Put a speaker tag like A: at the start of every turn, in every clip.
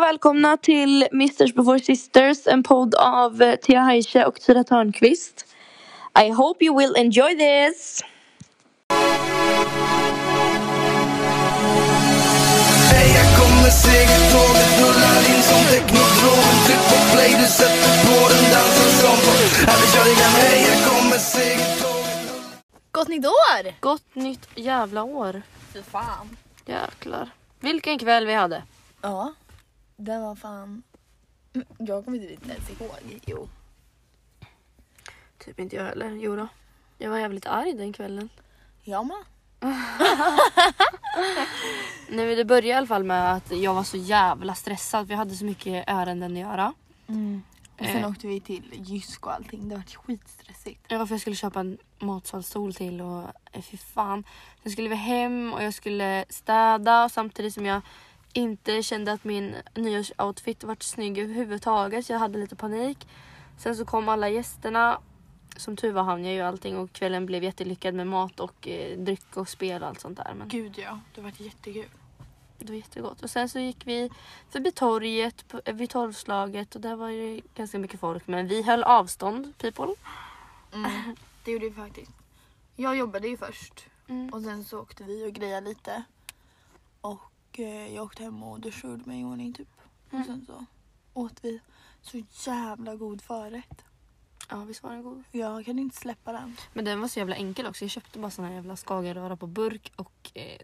A: välkomna till Misters Before Sisters, en podd av eh, Thea Heise och Tyra Törnqvist. I hope you will enjoy this!
B: Hej, jag kommer segertåget rullar in som teknodromen Tryck på play, du sätter på den dansen som på Här vi kör igen, hej, jag kommer segertåget
C: Gott nytt år!
A: Gott nytt jävla år.
C: Fy fan.
A: Jäklar. Vilken kväll vi hade.
C: Ja, det var fan... Mm, Jag kommer inte ens ihåg. Jo.
A: Typ inte jag heller. Jo då. Jag var jävligt arg den kvällen.
C: Jag med.
A: Nej men det började i alla fall med att jag var så jävla stressad. Vi hade så mycket ärenden att göra.
C: Och sen
A: Eh.
C: åkte vi till Jysk och allting. Det var skitstressigt.
A: Ja, för jag skulle köpa en matsalsstol till och eh, fy fan. Sen skulle vi hem och jag skulle städa samtidigt som jag inte kände att min nyårsoutfit vart snygg överhuvudtaget. Så jag hade lite panik. Sen så kom alla gästerna. Som tur var hann jag ju allting och kvällen blev jättelyckad med mat och eh, dryck och spel och allt sånt där. Men
C: Gud ja, det var jättekul.
A: det var jättegott. Och sen så gick vi förbi torget, på- eh, vid torvslaget och där var ju ganska mycket folk. Men vi höll avstånd people.
C: Mm. Det gjorde vi faktiskt. Jag jobbade ju först
A: Mm.
C: och sen så åkte vi och grejade lite. Och eh, jag åkte hem och duschade och gjorde mig i ordning typ. Och sen så åt vi så jävla god förrätt.
A: Ja visst var den god?
C: Jag kan inte släppa den.
A: Men den var så jävla enkel också. Jag köpte bara såna här jävla skagenröra på burk och eh,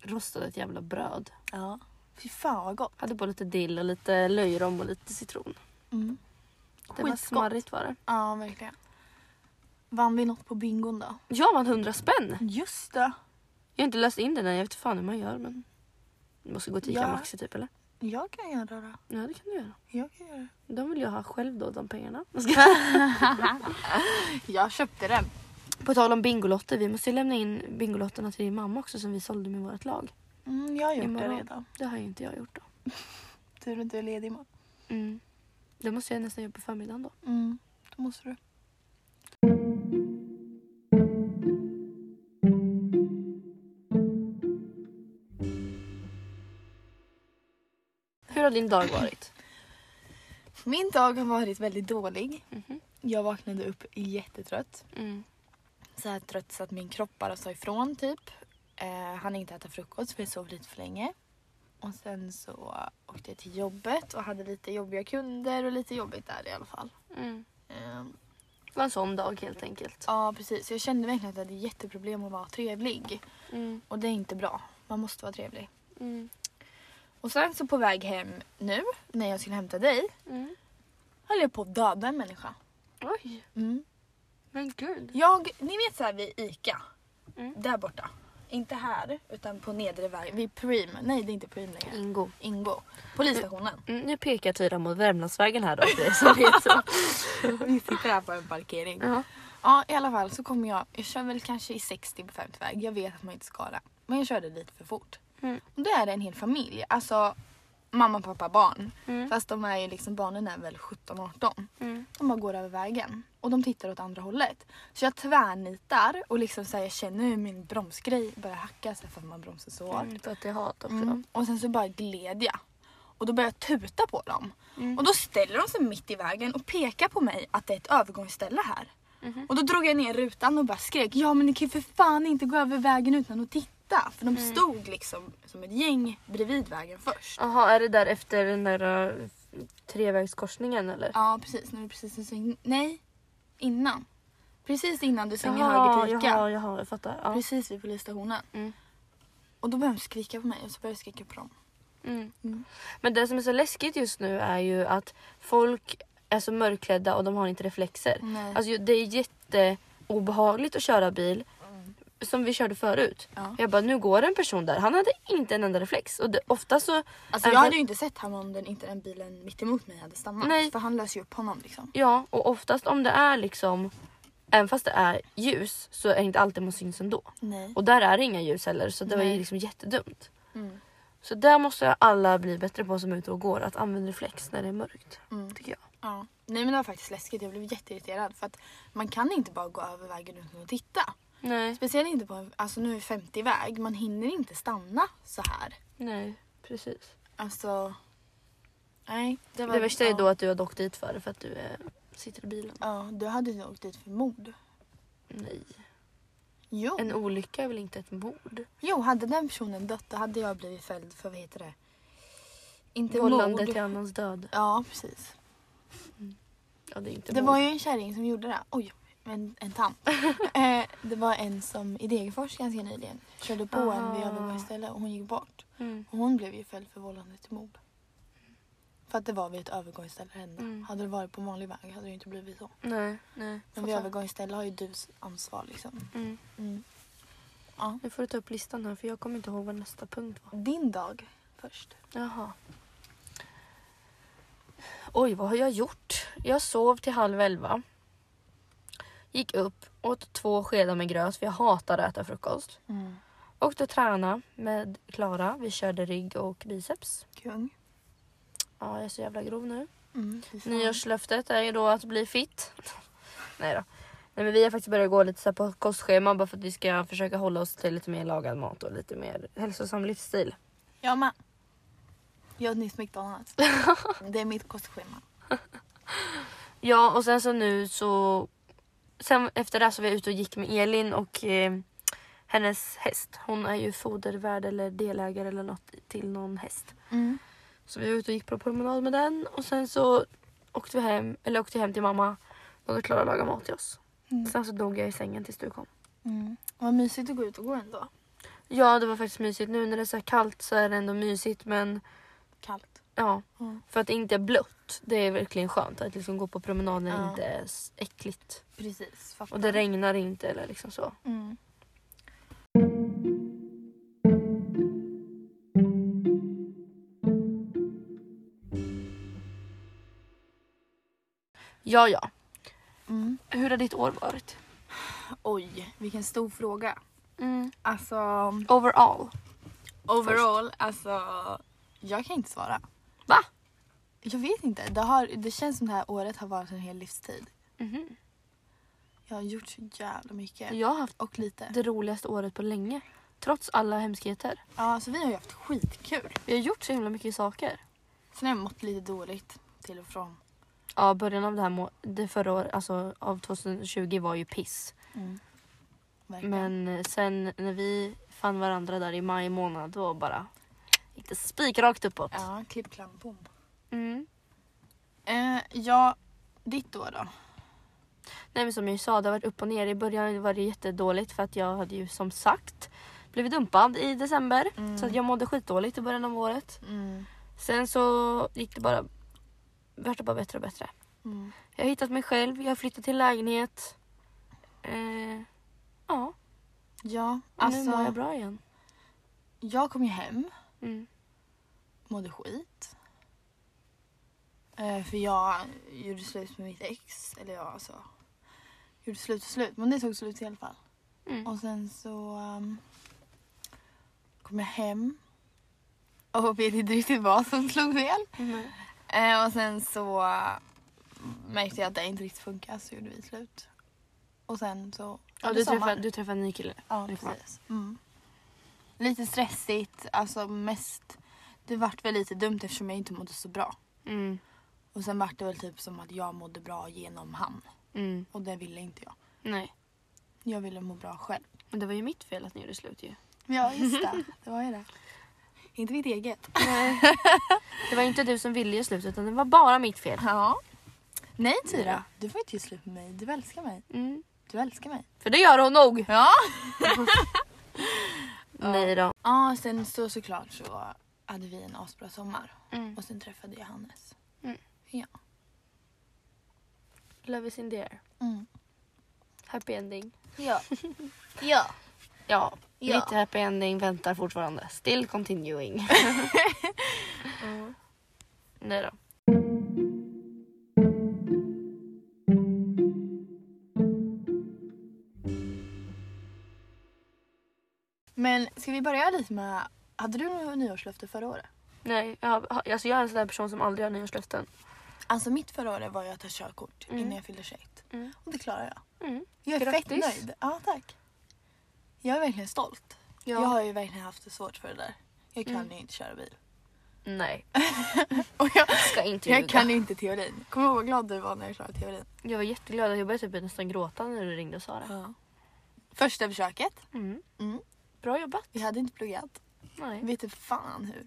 A: rostade ett jävla bröd.
C: Ja. Fy fan vad gott.
A: Hade på lite dill och lite löjrom och lite citron.
C: Mm.
A: Det var
C: Skitgott.
A: smarrigt var det.
C: Ja, verkligen. Vann vi något på bingon då?
A: Jag vann 100 spänn!
C: Just det.
A: Jag har inte läst in den än. Jag vet inte fan hur man gör men... Du måste gå till Ica
C: Ja.
A: Maxi typ eller?
C: Jag kan göra det.
A: Ja det kan du göra.
C: Jag kan göra det.
A: De vill jag ha själv då de pengarna. Jag ska-
C: Jag köpte den.
A: på tal om Bingolotter. Vi måste ju lämna in Bingolotterna till din mamma också som vi sålde med vårt lag.
C: Mm, jag har gjort det
A: Imorgon.
C: redan.
A: Det har ju inte jag gjort då.
C: Tur att du är ledig imorgon.
A: Mm. Det måste jag nästan göra på förmiddagen då.
C: Mm, det måste du.
A: Hur har din dag varit?
C: Min dag har varit väldigt dålig.
A: Mhm.
C: Jag vaknade upp jättetrött.
A: Mm.
C: Så här trött så att min kropp bara sa ifrån typ. Eh, hann inte äta frukost för jag sov lite för länge. Och sen så åkte jag till jobbet och hade lite jobbiga kunder och lite jobbigt där i alla fall.
A: Mm.
C: Ehm,
A: Det var en sån dag helt enkelt.
C: Ja precis, jag kände verkligen att jag hade jätteproblem att vara trevlig.
A: Mm,
C: Och det är inte bra, man måste vara trevlig.
A: mm,
C: Och sen så på väg hem nu, när jag skulle hämta dig,
A: mm.
C: höll jag på att döda en människa. Mm.
A: Oj, men gud.
C: Jag, ni vet såhär vid ICA,
A: Mm.
C: där borta. Inte här, utan på nedre vägen, vid Preem. Nej det är inte Preem längre.
A: Ingo.
C: Ingo. Polisstationen.
A: Mm, nu pekar Tyra mot Värmlandsvägen här då. Det är så det är så.
C: Vi sitter här på en parkering.
A: Ja.
C: Ja i alla fall så kommer jag, jag kör väl kanske i 60 på 50 väg. Jag vet att man inte ska det. Men jag körde lite för fort.
A: Mm.
C: Och då är det en hel familj. Alltså mamma, pappa, barn.
A: Mm.
C: Fast de är ju liksom, barnen är väl 17-18.
A: Mm.
C: De bara går över vägen. Och de tittar åt andra hållet. Så jag tvärnitar och liksom så här, jag känner hur min bromsgrej börjar hacka så här, för att man bromsar så hårt.
A: Mm, För att det är hat också.
C: Mm. Och sen så bara gled jag. Och då började jag tuta på dem.
A: Mm.
C: Och då ställer de sig mitt i vägen och pekar på mig att det är ett övergångsställe här.
A: Mhm.
C: Och då drog jag ner rutan och bara skrek ja men ni kan ju för fan inte gå över vägen utan att titta. För de
A: Mm.
C: stod liksom som ett gäng bredvid vägen först.
A: Jaha, är det där efter den där eh, trevägskorsningen eller?
C: Ja precis, när vi precis har svängt- Nej, innan. Precis innan du svänger höger
A: jaha,
C: till
A: jaha,
C: ICA.
A: jaha, jag fattar. Ja.
C: Precis vid polisstationen.
A: Mm.
C: Och då började de skrika på mig och så började jag skrika på dem.
A: Mm.
C: Mm.
A: Men det som är så läskigt just nu är ju att folk är så mörkklädda och de har inte reflexer.
C: Nej.
A: Alltså, det är jätteobehagligt att köra bil som vi körde förut.
C: Ja.
A: Jag bara, nu går en person där. Han hade inte en enda reflex. Och det, ofta så...
C: Alltså
A: även
C: jag
A: fast-
C: hade ju inte sett honom om den, inte den bilen mitt emot mig hade stannat.
A: Nej.
C: För han löser ju upp honom liksom.
A: Ja, och oftast om det är liksom... Även fast det är ljus så är det inte alltid man syns ändå.
C: Nej.
A: Och där är det inga ljus heller så det var ju
C: Nej.
A: liksom jättedumt.
C: Mm.
A: Så där måste alla bli bättre på som är ute och går. Att använda reflex när det är mörkt.
C: Mm.
A: Tycker jag.
C: Ja. Nej men det var faktiskt läskigt. Jag blev jätteirriterad för att man kan inte bara gå över vägen utan att titta.
A: Nej,
C: Speciellt inte på en, alltså nu är 50 väg. Man hinner inte stanna så här.
A: nej precis.
C: Alltså Nej,
A: Det värsta är
C: ja.
A: då att du har åkt dit för det för att du eh, sitter i bilen.
C: Ja, du hade ju åkt dit för mord.
A: Nej.
C: Jo.
A: En olycka är väl inte ett mord?
C: jo, hade den personen dött då hade jag blivit fälld för vad heter det? Inte
A: Vållande
C: mord.
A: till annans död.
C: Ja, precis.
A: Ja, det är inte
C: Det
A: mord.
C: var ju en kärring som gjorde det. Oj, en, en tant. eh, det var en som i Degerfors ganska nyligen körde på en vid
A: Aha.
C: övergångsställe och hon gick bort.
A: Mm.
C: Och hon blev ju fälld för vållande till mord. För att det var vid ett övergångsställe det hände.
A: Mm.
C: Hade det varit på vanlig väg hade det ju inte blivit så.
A: Nej, nej.
C: Men vid övergångsställe har ju du ansvar liksom.
A: Mm.
C: Mm.
A: Nu får du ta upp listan här för jag kommer inte ihåg vad nästa punkt var.
C: Din dag först.
A: Jaha. Oj, vad har jag gjort? Jag sov till halv elva. Gick upp, åt två skedar med gröt för jag hatar att äta frukost.
C: Mm.
A: Åkte och tränade med Klara. Vi körde rygg och biceps.
C: Kung.
A: Ja, jag är så jävla grov nu.
C: Mm. fy fan.
A: Nyårslöftet är ju då att bli fit. Nej då. Nej, men vi har faktiskt börjat gå lite så här på kostschema bara för att vi ska försöka hålla oss till lite mer lagad mat och lite mer hälsosam livsstil.
C: Jag med. Jag åt nyss McDonalds. det är mitt kostschema.
A: Ja och sen så nu så... Sen efter det här så var jag ute och gick med Elin och eh, hennes häst. Hon är ju fodervärd eller delägare eller något till någon häst.
C: Mm.
A: Så vi var ute och gick på promenad med den och sen så åkte vi hem, eller åkte hem till mamma. Då hade Klara lagat mat till oss.
C: Mm.
A: Sen så dog jag i sängen tills du kom.
C: Mm. Vad mysigt att gå ut och gå ändå.
A: Ja, det var faktiskt mysigt. Nu när det är så här kallt så är det ändå mysigt men
C: Kallt.
A: ja,
C: Mm.
A: för att det inte är blött. Det är verkligen skönt att liksom gå på promenad när det
C: Ja.
A: inte är s- äckligt.
C: Precis. Fattar.
A: Och det regnar inte eller liksom så.
C: Mm.
A: Ja, ja.
C: Mm.
A: Hur har ditt år varit?
C: Oj, vilken stor fråga.
A: Mm.
C: Alltså,
A: Overall.
C: overall, alltså. Jag kan inte svara.
A: Va?
C: Jag vet inte. Det, har, det känns som det här året har varit en hel livstid.
A: Mhm.
C: Jag har gjort så jävla mycket.
A: Jag har haft
C: Och lite.
A: det roligaste året på länge. Trots alla hemskheter.
C: Ja, alltså vi har ju haft skitkul.
A: Vi har gjort så himla mycket saker.
C: Sen har jag mått lite dåligt till och från.
A: Ja, början av det här må- det förra året, alltså av 2020 var ju piss.
C: Verkligen.
A: Men eh, sen när vi fann varandra där i maj månad då bara gick det spikrakt uppåt.
C: Ja, klipp, klam, bom.
A: Mm.
C: Eh, ja, ditt år då?
A: Nej men som jag sa, det har varit upp och ner. I början var det jättedåligt för att jag hade ju som sagt blivit dumpad i december.
C: Mm.
A: Så att jag mådde skitdåligt i början av året. Sen så gick det bara... Vart det bara bättre och bättre.
C: Mm.
A: Jag har hittat mig själv, jag har flyttat till lägenhet. Eh, ja,
C: Ja,
A: och nu mår jag
C: alltså.
A: bra igen.
C: Jag kom ju hem,
A: Mm.
C: mådde skit. Eh, för jag gjorde slut med mitt ex. Eller jag alltså. Gjorde slut och slut, men det tog slut i alla fall.
A: Mm.
C: Och sen så ehm, kom jag hem. Och vet inte riktigt vad som slog fel.
A: Nej.
C: Eh, och sen så eh, märkte jag att det inte riktigt funkar så gjorde vi slut. Och sen så...
A: Ja,
C: var
A: du, typ
C: det sommar.
A: träffade, du träffade en ny kille.
C: Ja,
A: det får man.
C: precis. Mm. Lite stressigt, alltså mest... Det vart väl lite dumt eftersom jag inte mådde så bra.
A: Mm.
C: Och sen vart det väl typ som att jag mådde bra genom han.
A: Mm.
C: Och det ville inte jag.
A: Nej,
C: Jag ville må bra själv.
A: men det var ju mitt fel att ni gjorde slut ju.
C: Ja, just det. Det var ju det. Inte mitt eget.
A: Det var inte du som ville göra slut utan det var bara mitt fel.
C: Ja. Nej, Tyra. Du får inte göra slut med mig. Du älskar mig.
A: Mm.
C: Du älskar mig.
A: För det gör hon nog!
C: Ja.
A: Nej då.
C: Ja, sen så såklart så hade vi en asbra sommar.
A: Mm.
C: Och sen träffade jag Hannes.
A: Love is in the air.
C: Mm.
A: Happy ending.
C: Ja. ja.
A: Ja,
C: Ja.
A: mitt happy ending väntar fortfarande. Still continuing. Nej då.
C: Men ska vi börja lite med, hade du något nyårslöfte förra året?
A: Nej, jag, har- alltså jag är en sån där person som aldrig har nyårslöften.
C: Alltså mitt förra året var ju att ta körkort innan jag fyllde 21.
A: Mm.
C: Och det klarade jag.
A: Mm.
C: Jag är fett
A: Grattis.
C: nöjd. Ja, tack. Jag är verkligen stolt.
A: Ja.
C: Jag har ju verkligen haft det svårt för det där. Jag kan ju inte köra bil.
A: Nej,
C: Mm. Och jag,
A: ska ska inte ljuga.
C: Jag kan inte teorin. Kommer du ihåg vad glad du var när jag klarade teorin?
A: Jag var jätteglad. Jag började typ nästan gråta när du ringde och sa det.
C: Första försöket.
A: Mm.
C: Mm.
A: Bra jobbat.
C: Vi hade inte pluggat.
A: Nej.
C: Vet inte fan hur.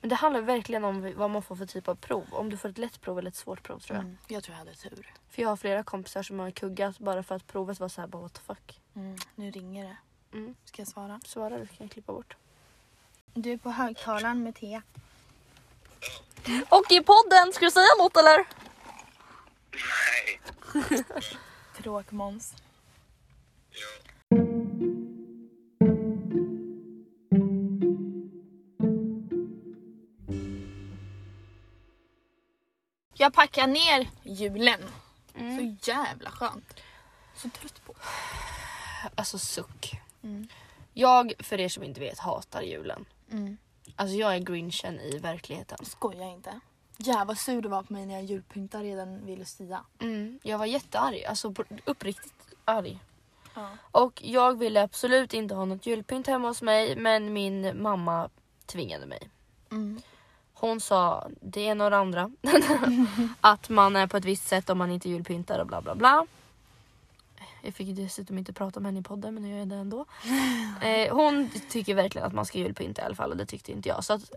A: Men det handlar verkligen om vad man får för typ av prov. Om du får ett lätt prov eller ett svårt prov tror jag.
C: Mm. Jag tror jag hade tur.
A: För jag har flera kompisar som har kuggat bara för att provet var så här bara what the fuck.
C: Mm. Nu ringer det.
A: Mm.
C: Ska jag svara?
A: Svara du kan jag klippa bort.
C: Du är på högtalaren med Thea.
A: Och i podden, ska du säga något eller?
D: Nej.
C: Tråkmåns.
D: Ja.
C: Jag packar ner julen. Så jävla skönt. Så trött på.
A: Alltså suck.
C: Mm.
A: Jag, för er som inte vet, hatar julen.
C: Mm.
A: Alltså jag är grinchen i verkligheten.
C: Skoja inte. Jävlar vad sur du var på mig när jag julpyntade redan vid Lucia.
A: Mm, jag var jättearg, alltså på- uppriktigt arg.
C: Ja.
A: Och jag ville absolut inte ha något julpynt hemma hos mig men min mamma tvingade mig.
C: Mm.
A: Hon sa det ena och det andra. att man är på ett visst sätt om man inte julpyntar och bla bla bla. Jag fick ju dessutom inte prata med henne i podden men nu gör jag det ändå. Eh, hon tycker verkligen att man ska julpynta i alla fall och det tyckte inte jag. Så att,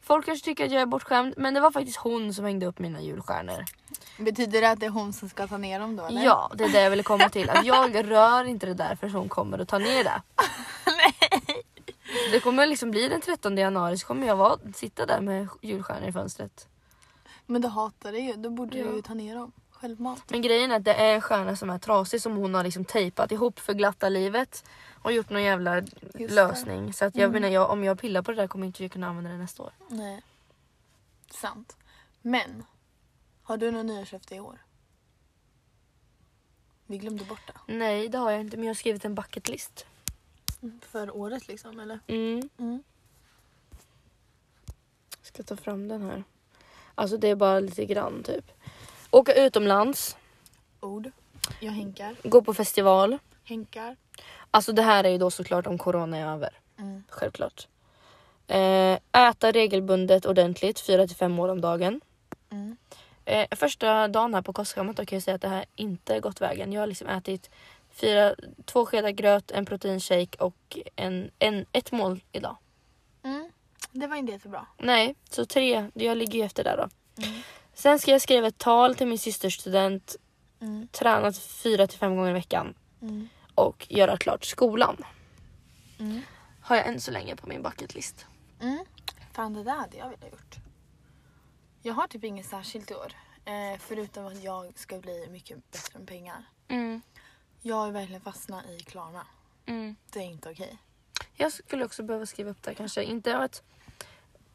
A: folk kanske tycker att jag är bortskämd men det var faktiskt hon som hängde upp mina julstjärnor.
C: Betyder det att det är hon som ska ta ner dem då eller?
A: Ja, det är det jag ville komma till. Att jag rör inte det där förrän hon kommer och tar ner det. Det kommer liksom bli den 13 januari så kommer jag vara, sitta där med julstjärnor i fönstret.
C: Men du hatar det ju. Då borde
A: Ja.
C: du ju ta ner dem. Självmant.
A: Men grejen är att det är en stjärna som är trasig som hon har liksom tejpat ihop för glatta livet och gjort någon jävla
C: det.
A: lösning. Så att jag menar jag, om jag pillar på det där kommer inte jag kunna använda det nästa år.
C: Nej. Sant. Men. Har du något nyårslöfte i år? Vi glömde bort det.
A: Nej det har jag inte men jag har skrivit en bucket list.
C: För året liksom eller?
A: Mm.
C: Mm.
A: Ska ta fram den här. Alltså det är bara lite grann typ. Åka utomlands,
C: Ord. Jag hinkar.
A: gå på festival.
C: Hinkar.
A: Alltså det här är ju då såklart om corona är över.
C: Mm.
A: Självklart. Eh, äta regelbundet ordentligt, 4 till 5 mål om dagen.
C: Mm.
A: Eh, första dagen här på kostschemat då kan jag säga att det här inte gått vägen. Jag har liksom ätit fyra, två skedar gröt, en proteinshake och en, en, ett mål idag.
C: Mm. Det var inte jättebra.
A: Nej, så tre. Jag ligger ju efter där då. Sen ska jag skriva ett tal till min systers student,
C: Mm.
A: träna fyra till fem gånger i veckan
C: Mm.
A: och göra klart skolan.
C: Mm.
A: Har jag än så länge på min bucket list.
C: Mm. Fan det där hade jag velat gjort. Jag har typ inget särskilt i år. Eh, förutom att jag ska bli mycket bättre med pengar. Mm. Jag är verkligen fastnat i Klarna. Det är inte okej.
A: Jag skulle också behöva skriva upp det kanske. Inte att...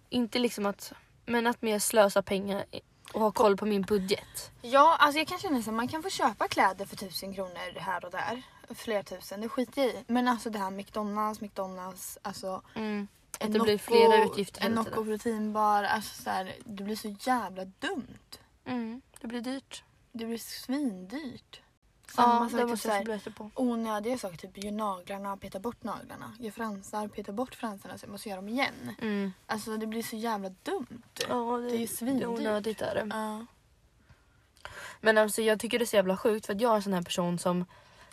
A: Inte liksom att... Men att mer slösa pengar och ha koll på min budget.
C: Ja, alltså jag kan känna så här, man kan få köpa kläder för tusen kronor här och där. Fler tusen, det skiter jag i. Men alltså det här McDonalds, McDonalds, alltså.
A: Att det blir flera utgifter
C: En
A: hela
C: Nocco
A: tiden.
C: proteinbar, alltså så här, det blir så jävla dumt.
A: Mm. Det blir dyrt.
C: Det blir svindyrt.
A: Ja,
C: Samma
A: det
C: sak, typ
A: måste
C: så här,
A: jag bli bättre på.
C: onödiga saker. Typ gör naglarna, peta bort naglarna. Gör fransar, peta bort fransarna så jag måste göra dem igen.
A: Mm.
C: Alltså det blir så jävla dumt.
A: Ja,
C: det är ju svindyrt.
A: det är onödigt är det.
C: Ja.
A: Men alltså jag tycker det är så jävla sjukt för att jag är en sån här person som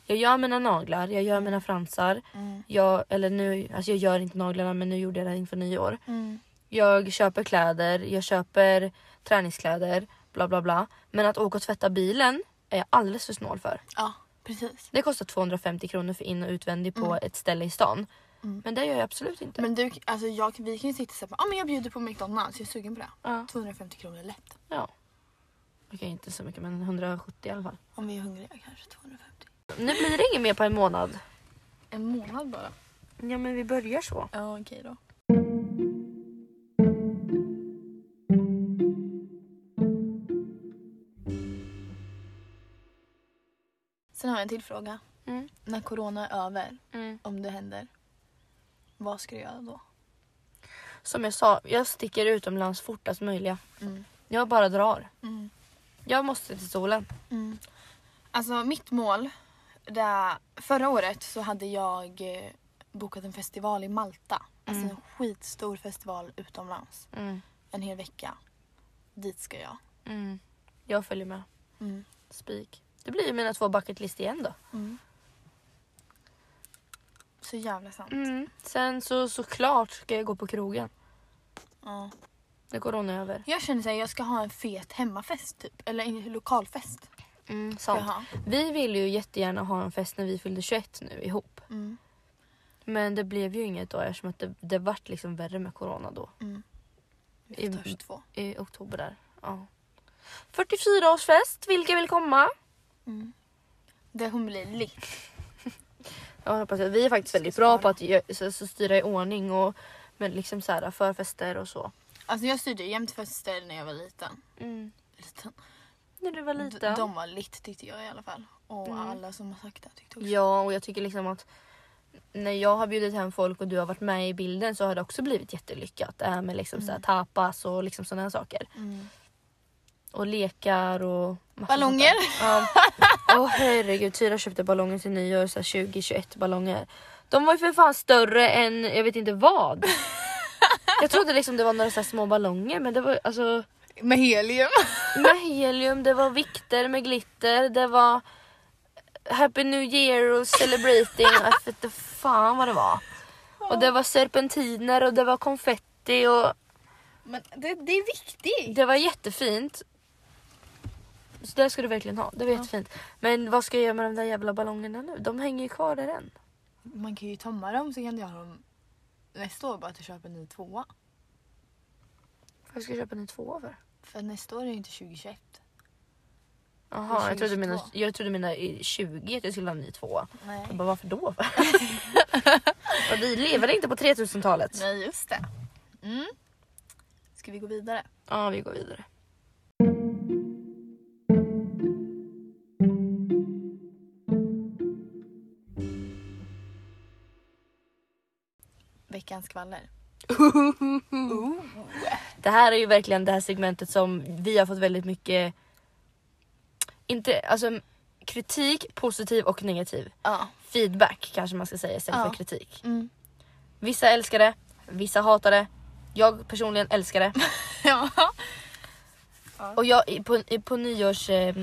A: jag gör mina naglar, jag gör mina fransar.
C: Mm.
A: Jag, eller nu, alltså jag gör inte naglarna men nu gjorde jag det inför nyår.
C: Mm.
A: Jag köper kläder, jag köper träningskläder, bla bla bla. Men att åka och tvätta bilen är jag alldeles för snål för.
C: ja, precis.
A: Det kostar 250 kronor för in och utvändig på ett ställe i stan. Mm. Men det gör jag absolut inte.
C: Men du, alltså jag, vi kan ju sitta såhär, ah, men jag bjuder på McDonalds, jag är sugen på det.
A: Ja.
C: 250 kronor lätt.
A: ja. Okej inte så mycket men 170 i alla fall.
C: Om vi är hungriga kanske 250.
A: Nu blir det inget mer på en månad.
C: En månad bara.
A: Ja men vi börjar så.
C: Ja, okej då. Sen har jag en till fråga.
A: Mm.
C: När corona är över, om det händer, vad ska du göra då?
A: Som jag sa, jag sticker utomlands fortast möjliga.
C: Mm.
A: Jag bara drar.
C: Mm.
A: Jag måste till solen.
C: Mm. Alltså mitt mål, där, förra året så hade jag eh, bokat en festival i
A: Mm.
C: Malta. Alltså en skitstor festival utomlands. En hel vecka. Dit ska jag.
A: Mm. Jag följer med.
C: Mm.
A: Spik. Det blir ju mina två bucket list igen då.
C: Så jävla sant.
A: Mm. Sen så såklart ska jag gå på krogen.
C: Ja.
A: När corona är över.
C: Jag känner att jag ska ha en fet hemmafest typ. Eller en lokalfest.
A: Mm,
C: Ska
A: sant.
C: jag ha.
A: Vi ville ju jättegärna ha en fest när vi fyllde 21 nu ihop.
C: Mm.
A: Men det blev ju inget då eftersom att det, det vart liksom värre med corona då.
C: Mm.
A: I,
C: Vi tar 22.
A: I oktober där. Ja. 44-årsfest, vilka vill komma?
C: Det kommer bli lit.
A: Jag hoppas att vi är faktiskt väldigt bra på att gö- så, så styra i ordning och men liksom så här, förfester och så.
C: Alltså jag styrde jämt fester när jag var liten. liten.
A: När du var
C: Mm. D-
A: liten. Mm.
C: De var lit tyckte jag i alla fall. Och alla som har sagt det tyckte också.
A: Ja, och jag tycker liksom att när jag har bjudit hem folk och du har varit med i bilden så har det också blivit jättelyckat. Det här med liksom så här tapas och liksom sådana saker.
C: Mm.
A: Och lekar och... massa
C: Ballonger.
A: sånt där. Ja. Åh herregud, Tyra köpte ballonger till nyår, så här 20-21 ballonger. De var ju för fan större än jag vet inte vad. Jag trodde liksom det var några så här små ballonger men det var alltså
C: Med helium.
A: med helium, det var vikter med glitter, det var Happy New Year och celebrating, jag vet inte fan vad det var. Och det var serpentiner och det var konfetti och
C: Men det, det är viktigt.
A: det var jättefint. Så det ska du verkligen ha, det var jättefint. Men vad ska jag göra med de där jävla ballongerna nu? De hänger ju kvar där än.
C: Man kan ju tomma dem så kan du ha dem nästa år bara att du köper en ny tvåa.
A: Varför ska jag köpa en tvåa för?
C: För nästa år är det inte 2021.
A: Jaha, jag trodde, mina,
C: 22.
A: jag trodde mina i 20 att jag skulle ha en ny tvåa.
C: Nej.
A: Jag bara, varför då? för? Och vi lever inte på 3000-talet.
C: Nej just det. Mm. Ska vi gå vidare?
A: Ja, vi går vidare.
C: Veckans skvaller.
A: Det här är ju verkligen det här segmentet som vi har fått väldigt mycket inte, alltså, kritik, positiv och negativ.
C: Ja.
A: Feedback kanske man ska säga istället
C: Ja.
A: för kritik.
C: Mm.
A: Vissa älskar det, vissa hatar det. Jag personligen älskar det.
C: ja.
A: Och jag, i- på, i- på, nyårs, eh,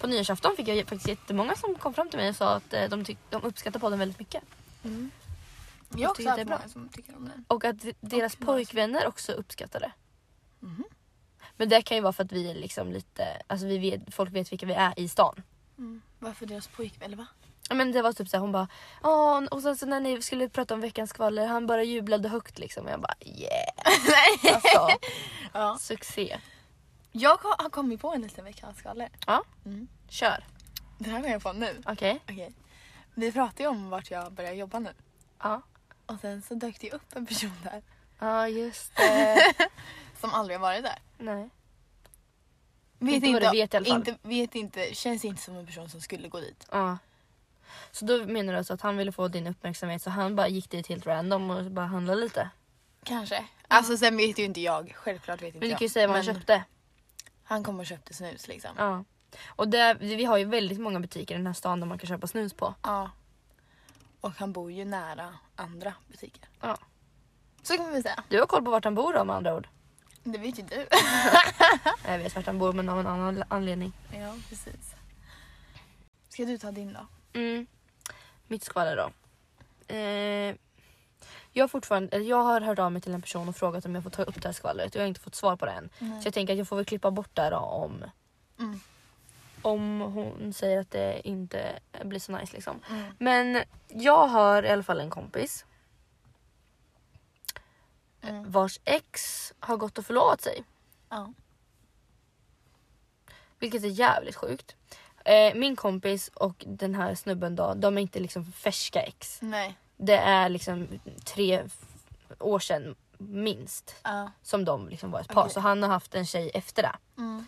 A: på nyårsafton fick jag ju faktiskt jättemånga som kom fram till mig och sa att eh, de, tyck, de uppskattar podden väldigt mycket.
C: Jag har
A: tycker
C: också
A: det är
C: haft
A: bra.
C: många som tycker om den.
A: Och att d- deras
C: Och några som-
A: pojkvänner också uppskattar det. Men det kan ju vara för att vi är liksom lite, alltså vi vet, folk vet vilka vi är i stan.
C: Varför deras pojkvän? Eller va?
A: Ja, Men det var typ såhär, hon bara Åh, och sen så när ni skulle prata om veckans skvaller, han bara jublade högt liksom. Och jag bara yeah. Alltså,
C: Ja.
A: succé.
C: Jag har har kommit på en liten veckans skvaller.
A: Ja,
C: Mm.
A: kör.
C: Den här kommer jag på nu.
A: Okej.
C: Okej. Vi pratade ju om vart jag börjar jobba nu.
A: Ja.
C: Och sen så dök det upp en person där
A: Ja, just det.
C: som aldrig har varit där.
A: Nej.
C: Vet
A: Inte vad du vet i alla fall.
C: Inte, vet inte, känns inte som en person som skulle gå dit.
A: Ja. Så då menar du alltså att han ville få din uppmärksamhet så han bara gick dit helt random och bara handlade lite.
C: Kanske. Alltså sen vet ju inte jag. Självklart vet inte
A: Men du
C: jag.
A: kan ju säga vad han
C: Men
A: köpte.
C: han kom och köpte snus liksom.
A: Ja. Och det, vi har ju väldigt många butiker i den här stan där man kan köpa snus på.
C: Ja. Och han bor ju nära andra butiker.
A: Ja.
C: Så kan man väl säga.
A: Du har koll på vart han bor då med andra ord.
C: Det vet ju du.
A: Jag vet vart han bor men av en annan anledning.
C: ja, precis. Ska du ta din då?
A: Mm. Mitt skvaller då. Eh, jag, har fortfarande, eller jag har hört av mig till en person och frågat om jag får ta upp det här skvallret och jag har inte fått svar på det än. Så jag tänker att jag får väl klippa bort det här då om,
C: Mm.
A: om hon säger att det inte blir så nice. Liksom.
C: Mm.
A: Men jag har i alla fall en kompis eh, vars ex har gått och förlovat sig.
C: Ja.
A: Vilket är jävligt sjukt. Eh, min kompis och den här snubben då, de är inte liksom färska ex.
C: Nej.
A: Det är liksom tre f- år sedan minst
C: Ja.
A: som de liksom var ett par.
C: Okej.
A: Så han har haft en tjej efter det.
C: Mm.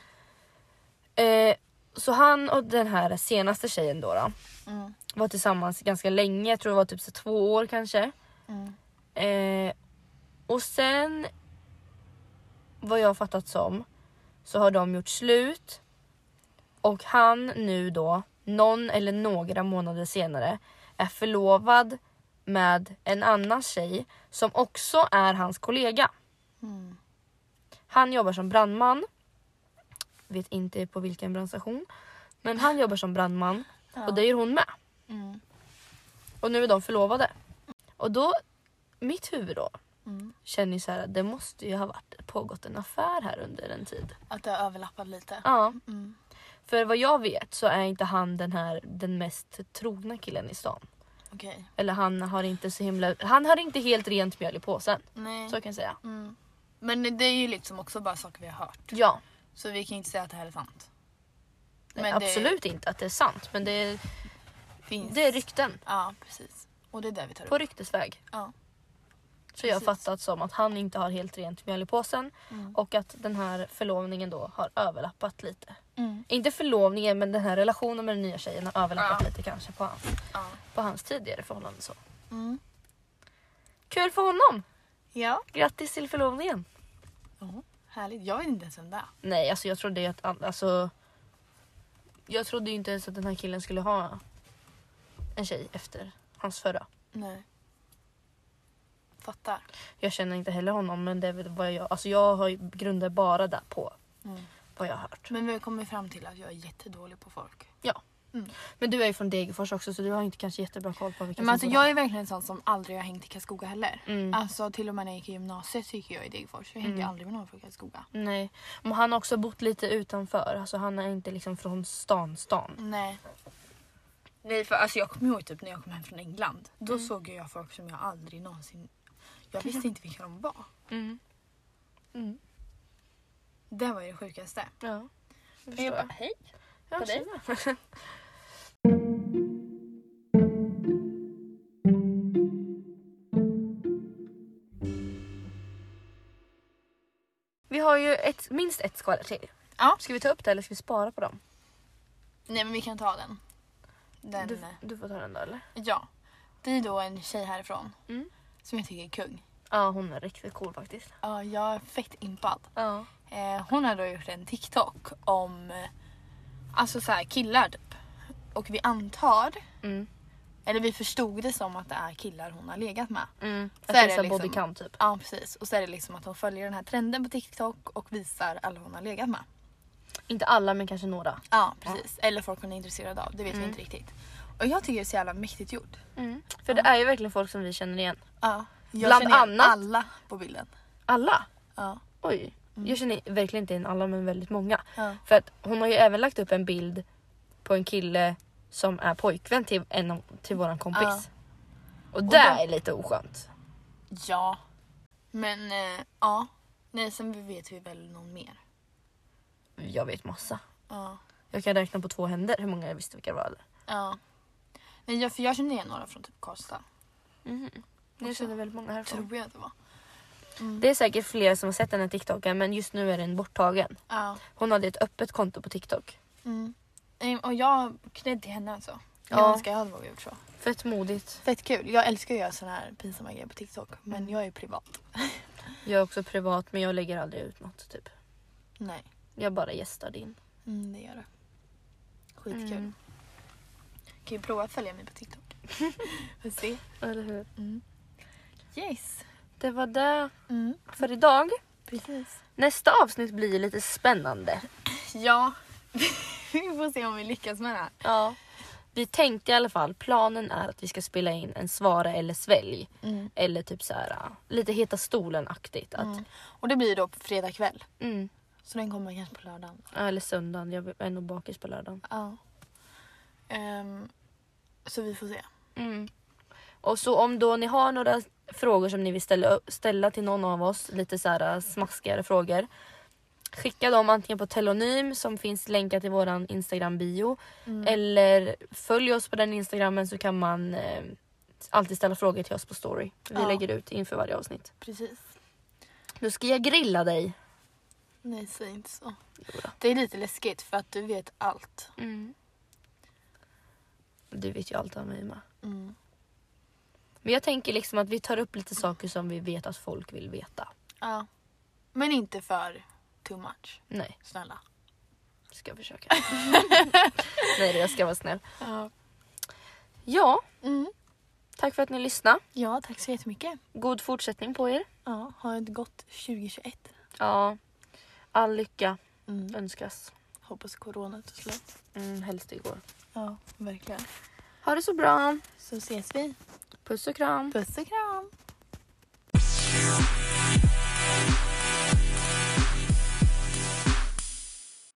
A: Eh, så han och den här senaste tjejen då, då
C: Mm.
A: var tillsammans ganska länge. Jag tror det var typ så två år kanske.
C: Mm.
A: Eh, och sen vad jag har fattat som så har de gjort slut och han nu då någon eller några månader senare är förlovad med en annan tjej som också är hans kollega. Han jobbar som brandman vet inte på vilken brandstation. Men han jobbar som brandman och det gör hon med.
C: Mm.
A: Och nu är de förlovade. Och då, mitt huvud då,
C: Mm.
A: känner ju så här att det måste ju ha varit, pågått en affär här under en tid.
C: Att det har överlappat lite.
A: Ja,
C: Mm.
A: för vad jag vet så är inte han den här den mest trogna killen i stan.
C: Okej.
A: Eller han har inte så himla, han har inte helt rent mjöl i påsen.
C: Nej.
A: Så kan jag säga.
C: Mm. Men det är ju liksom också bara saker vi har hört.
A: Ja,
C: Så vi kan ju inte säga att det här är sant.
A: Nej,
C: det
A: absolut inte att det är sant men det är,
C: finns.
A: det är rykten.
C: Ja, precis. Och det är det vi tar upp.
A: På ryktesväg.
C: Ja.
A: Så jag har
C: Precis. Mm.
A: fattat som att han inte har helt rent mjöl i påsen och att den här förlovningen då har överlappat lite.
C: Mm.
A: Inte förlovningen men den här relationen med den nya tjejen har överlappat
C: Ja.
A: lite kanske på hans,
C: Ja.
A: på hans tidigare förhållande. Så.
C: Mm.
A: Kul för honom!
C: ja.
A: Grattis till förlovningen!
C: Jo, härligt. Jag vet inte ens vem det är.
A: Nej alltså jag trodde ju att an- alltså, Jag trodde ju inte ens att den här killen skulle ha en tjej efter hans förra.
C: Nej. Fattar.
A: Jag känner inte heller honom men det är väl vad jag... Alltså jag har ju grunder bara där på
C: Mm.
A: vad jag har hört.
C: Men vi har kommit fram till att jag är jättedålig på folk.
A: Ja.
C: Mm.
A: Men du är ju från Degerfors också så du har inte kanske jättebra koll på vilka
C: Men alltså,
A: som bor
C: jag är verkligen en sån som aldrig har hängt i Karlskoga heller.
A: Mm.
C: Alltså till och med när jag gick i gymnasiet så gick jag i Degerfors. Jag hängde aldrig med någon från Karlskoga.
A: där. Nej. Men han har också bott lite utanför. Alltså han är inte liksom från stan stan.
C: Nej. Nej för alltså jag kommer ihåg typ när jag kom hem från England. Då såg jag folk som jag aldrig någonsin... Jag visste inte vilka de var. Mm.
A: Mm.
C: Det var ju det sjukaste.
A: Ja.
C: Men jag bara,
A: hej på dig. Vi har ju ett, minst ett skvaller till.
C: Ja.
A: Ska vi ta upp det eller ska vi spara på dem?
C: Nej men vi kan ta den. Den...
A: Du, du får ta den då eller?
C: Ja. Det är då en tjej härifrån.
A: Mm.
C: Som jag tycker är kung.
A: Ja hon är riktigt cool faktiskt.
C: Ja, jag är fett impad.
A: Ja.
C: Eh, hon har då gjort en TikTok om eh, alltså så här, killar typ. Och vi antar,
A: Mm.
C: eller vi förstod det som att det är killar hon har legat med.
A: Mm.
C: Så
A: Att
C: är det
A: visa
C: liksom-
A: bodycam typ.
C: Ja precis. Och så är det liksom att hon följer den här trenden på TikTok och visar alla hon har legat med.
A: Inte alla men kanske några.
C: Ja precis. Eller folk hon är intresserad av. Det vet
A: Mm.
C: vi inte riktigt. Och jag tycker det är så jävla mäktigt gjort.
A: För det är ju verkligen folk som vi känner igen.
C: Ja. Jag
A: Bland
C: känner igen
A: annat.
C: alla på bilden.
A: Alla?
C: Ja.
A: Oj. Jag känner verkligen inte in alla men väldigt många.
C: Ja.
A: För att hon har ju även lagt upp en bild på en kille som är pojkvän till, en, till våran kompis.
C: Ja.
A: Och det är lite oskönt.
C: Ja. Men eh, ja. Nej sen vet vi väl någon mer.
A: Jag vet massa.
C: Ja.
A: Jag kan räkna på två händer hur många jag visste vilka det var.
C: Ja. Nej, jag, för jag kände igen några från typ Karlstad.
A: Jag känner väldigt många härifrån.
C: Tror jag att det var.
A: Det är säkert fler som har sett den här TikToken men just nu är den borttagen.
C: Ja.
A: Hon hade ett öppet konto på TikTok.
C: Mm. Ehm, Och jag cred till henne alltså.
A: Ja.
C: Jag önskar jag hade vågat gjort så.
A: Fett modigt.
C: Fett kul. Jag älskar att göra såna här pinsamma grejer på TikTok. Men jag är privat.
A: Jag är också privat men jag lägger aldrig ut något typ.
C: Nej.
A: Jag bara gästar din.
C: Mm, det gör du. Skitkul. Mm. Kan ju prova att följa mig på TikTok. Får se.
A: Eller hur?
C: Yes.
A: Det var det
C: Mm,
A: för idag.
C: precis.
A: Nästa avsnitt blir lite spännande.
C: Ja. vi får se om vi lyckas med det här.
A: Ja. Vi tänkte i alla fall, planen är att vi ska spela in en svara eller svälj. Eller typ så här, äh, lite heta stolen-aktigt. Att, mm.
C: Och det blir då på fredag kväll. Så den kommer kanske på lördagen.
A: Ja, Eller söndagen, jag är nog bakis på lördagen.
C: Ja. Ehm, så vi får se.
A: Mm. Och så om då ni har några frågor som ni vill ställa, ställa till någon av oss, lite så här äh, smaskigare frågor. Skicka dem antingen på telonym som finns länkat i våran Instagram bio. Eller följ oss på den Instagrammen så kan man eh, alltid ställa frågor till oss på story. Vi
C: Ja.
A: lägger ut inför varje avsnitt.
C: Precis.
A: Nu ska jag grilla dig.
C: Nej, säg inte så. Det är lite läskigt för att du vet allt.
A: Mm. Du vet ju allt om mig med.
C: Mm.
A: Men jag tänker liksom att vi tar upp lite saker som vi vet att folk vill veta.
C: Ja. Men inte för too much.
A: Nej,
C: Snälla.
A: ska jag försöka. Nej, jag ska vara snäll.
C: Ja.
A: Ja,
C: Mm.
A: tack för att ni lyssnade.
C: Ja, tack så jättemycket.
A: God fortsättning på er.
C: Ja, ha ett gott 2021.
A: Ja, all lycka
C: Mm.
A: önskas.
C: Hoppas corona tar slut.
A: Mm, helst igår.
C: Ja, verkligen.
A: Ha det så bra.
C: Så ses vi.
A: Puss och kram.
C: Puss och kram.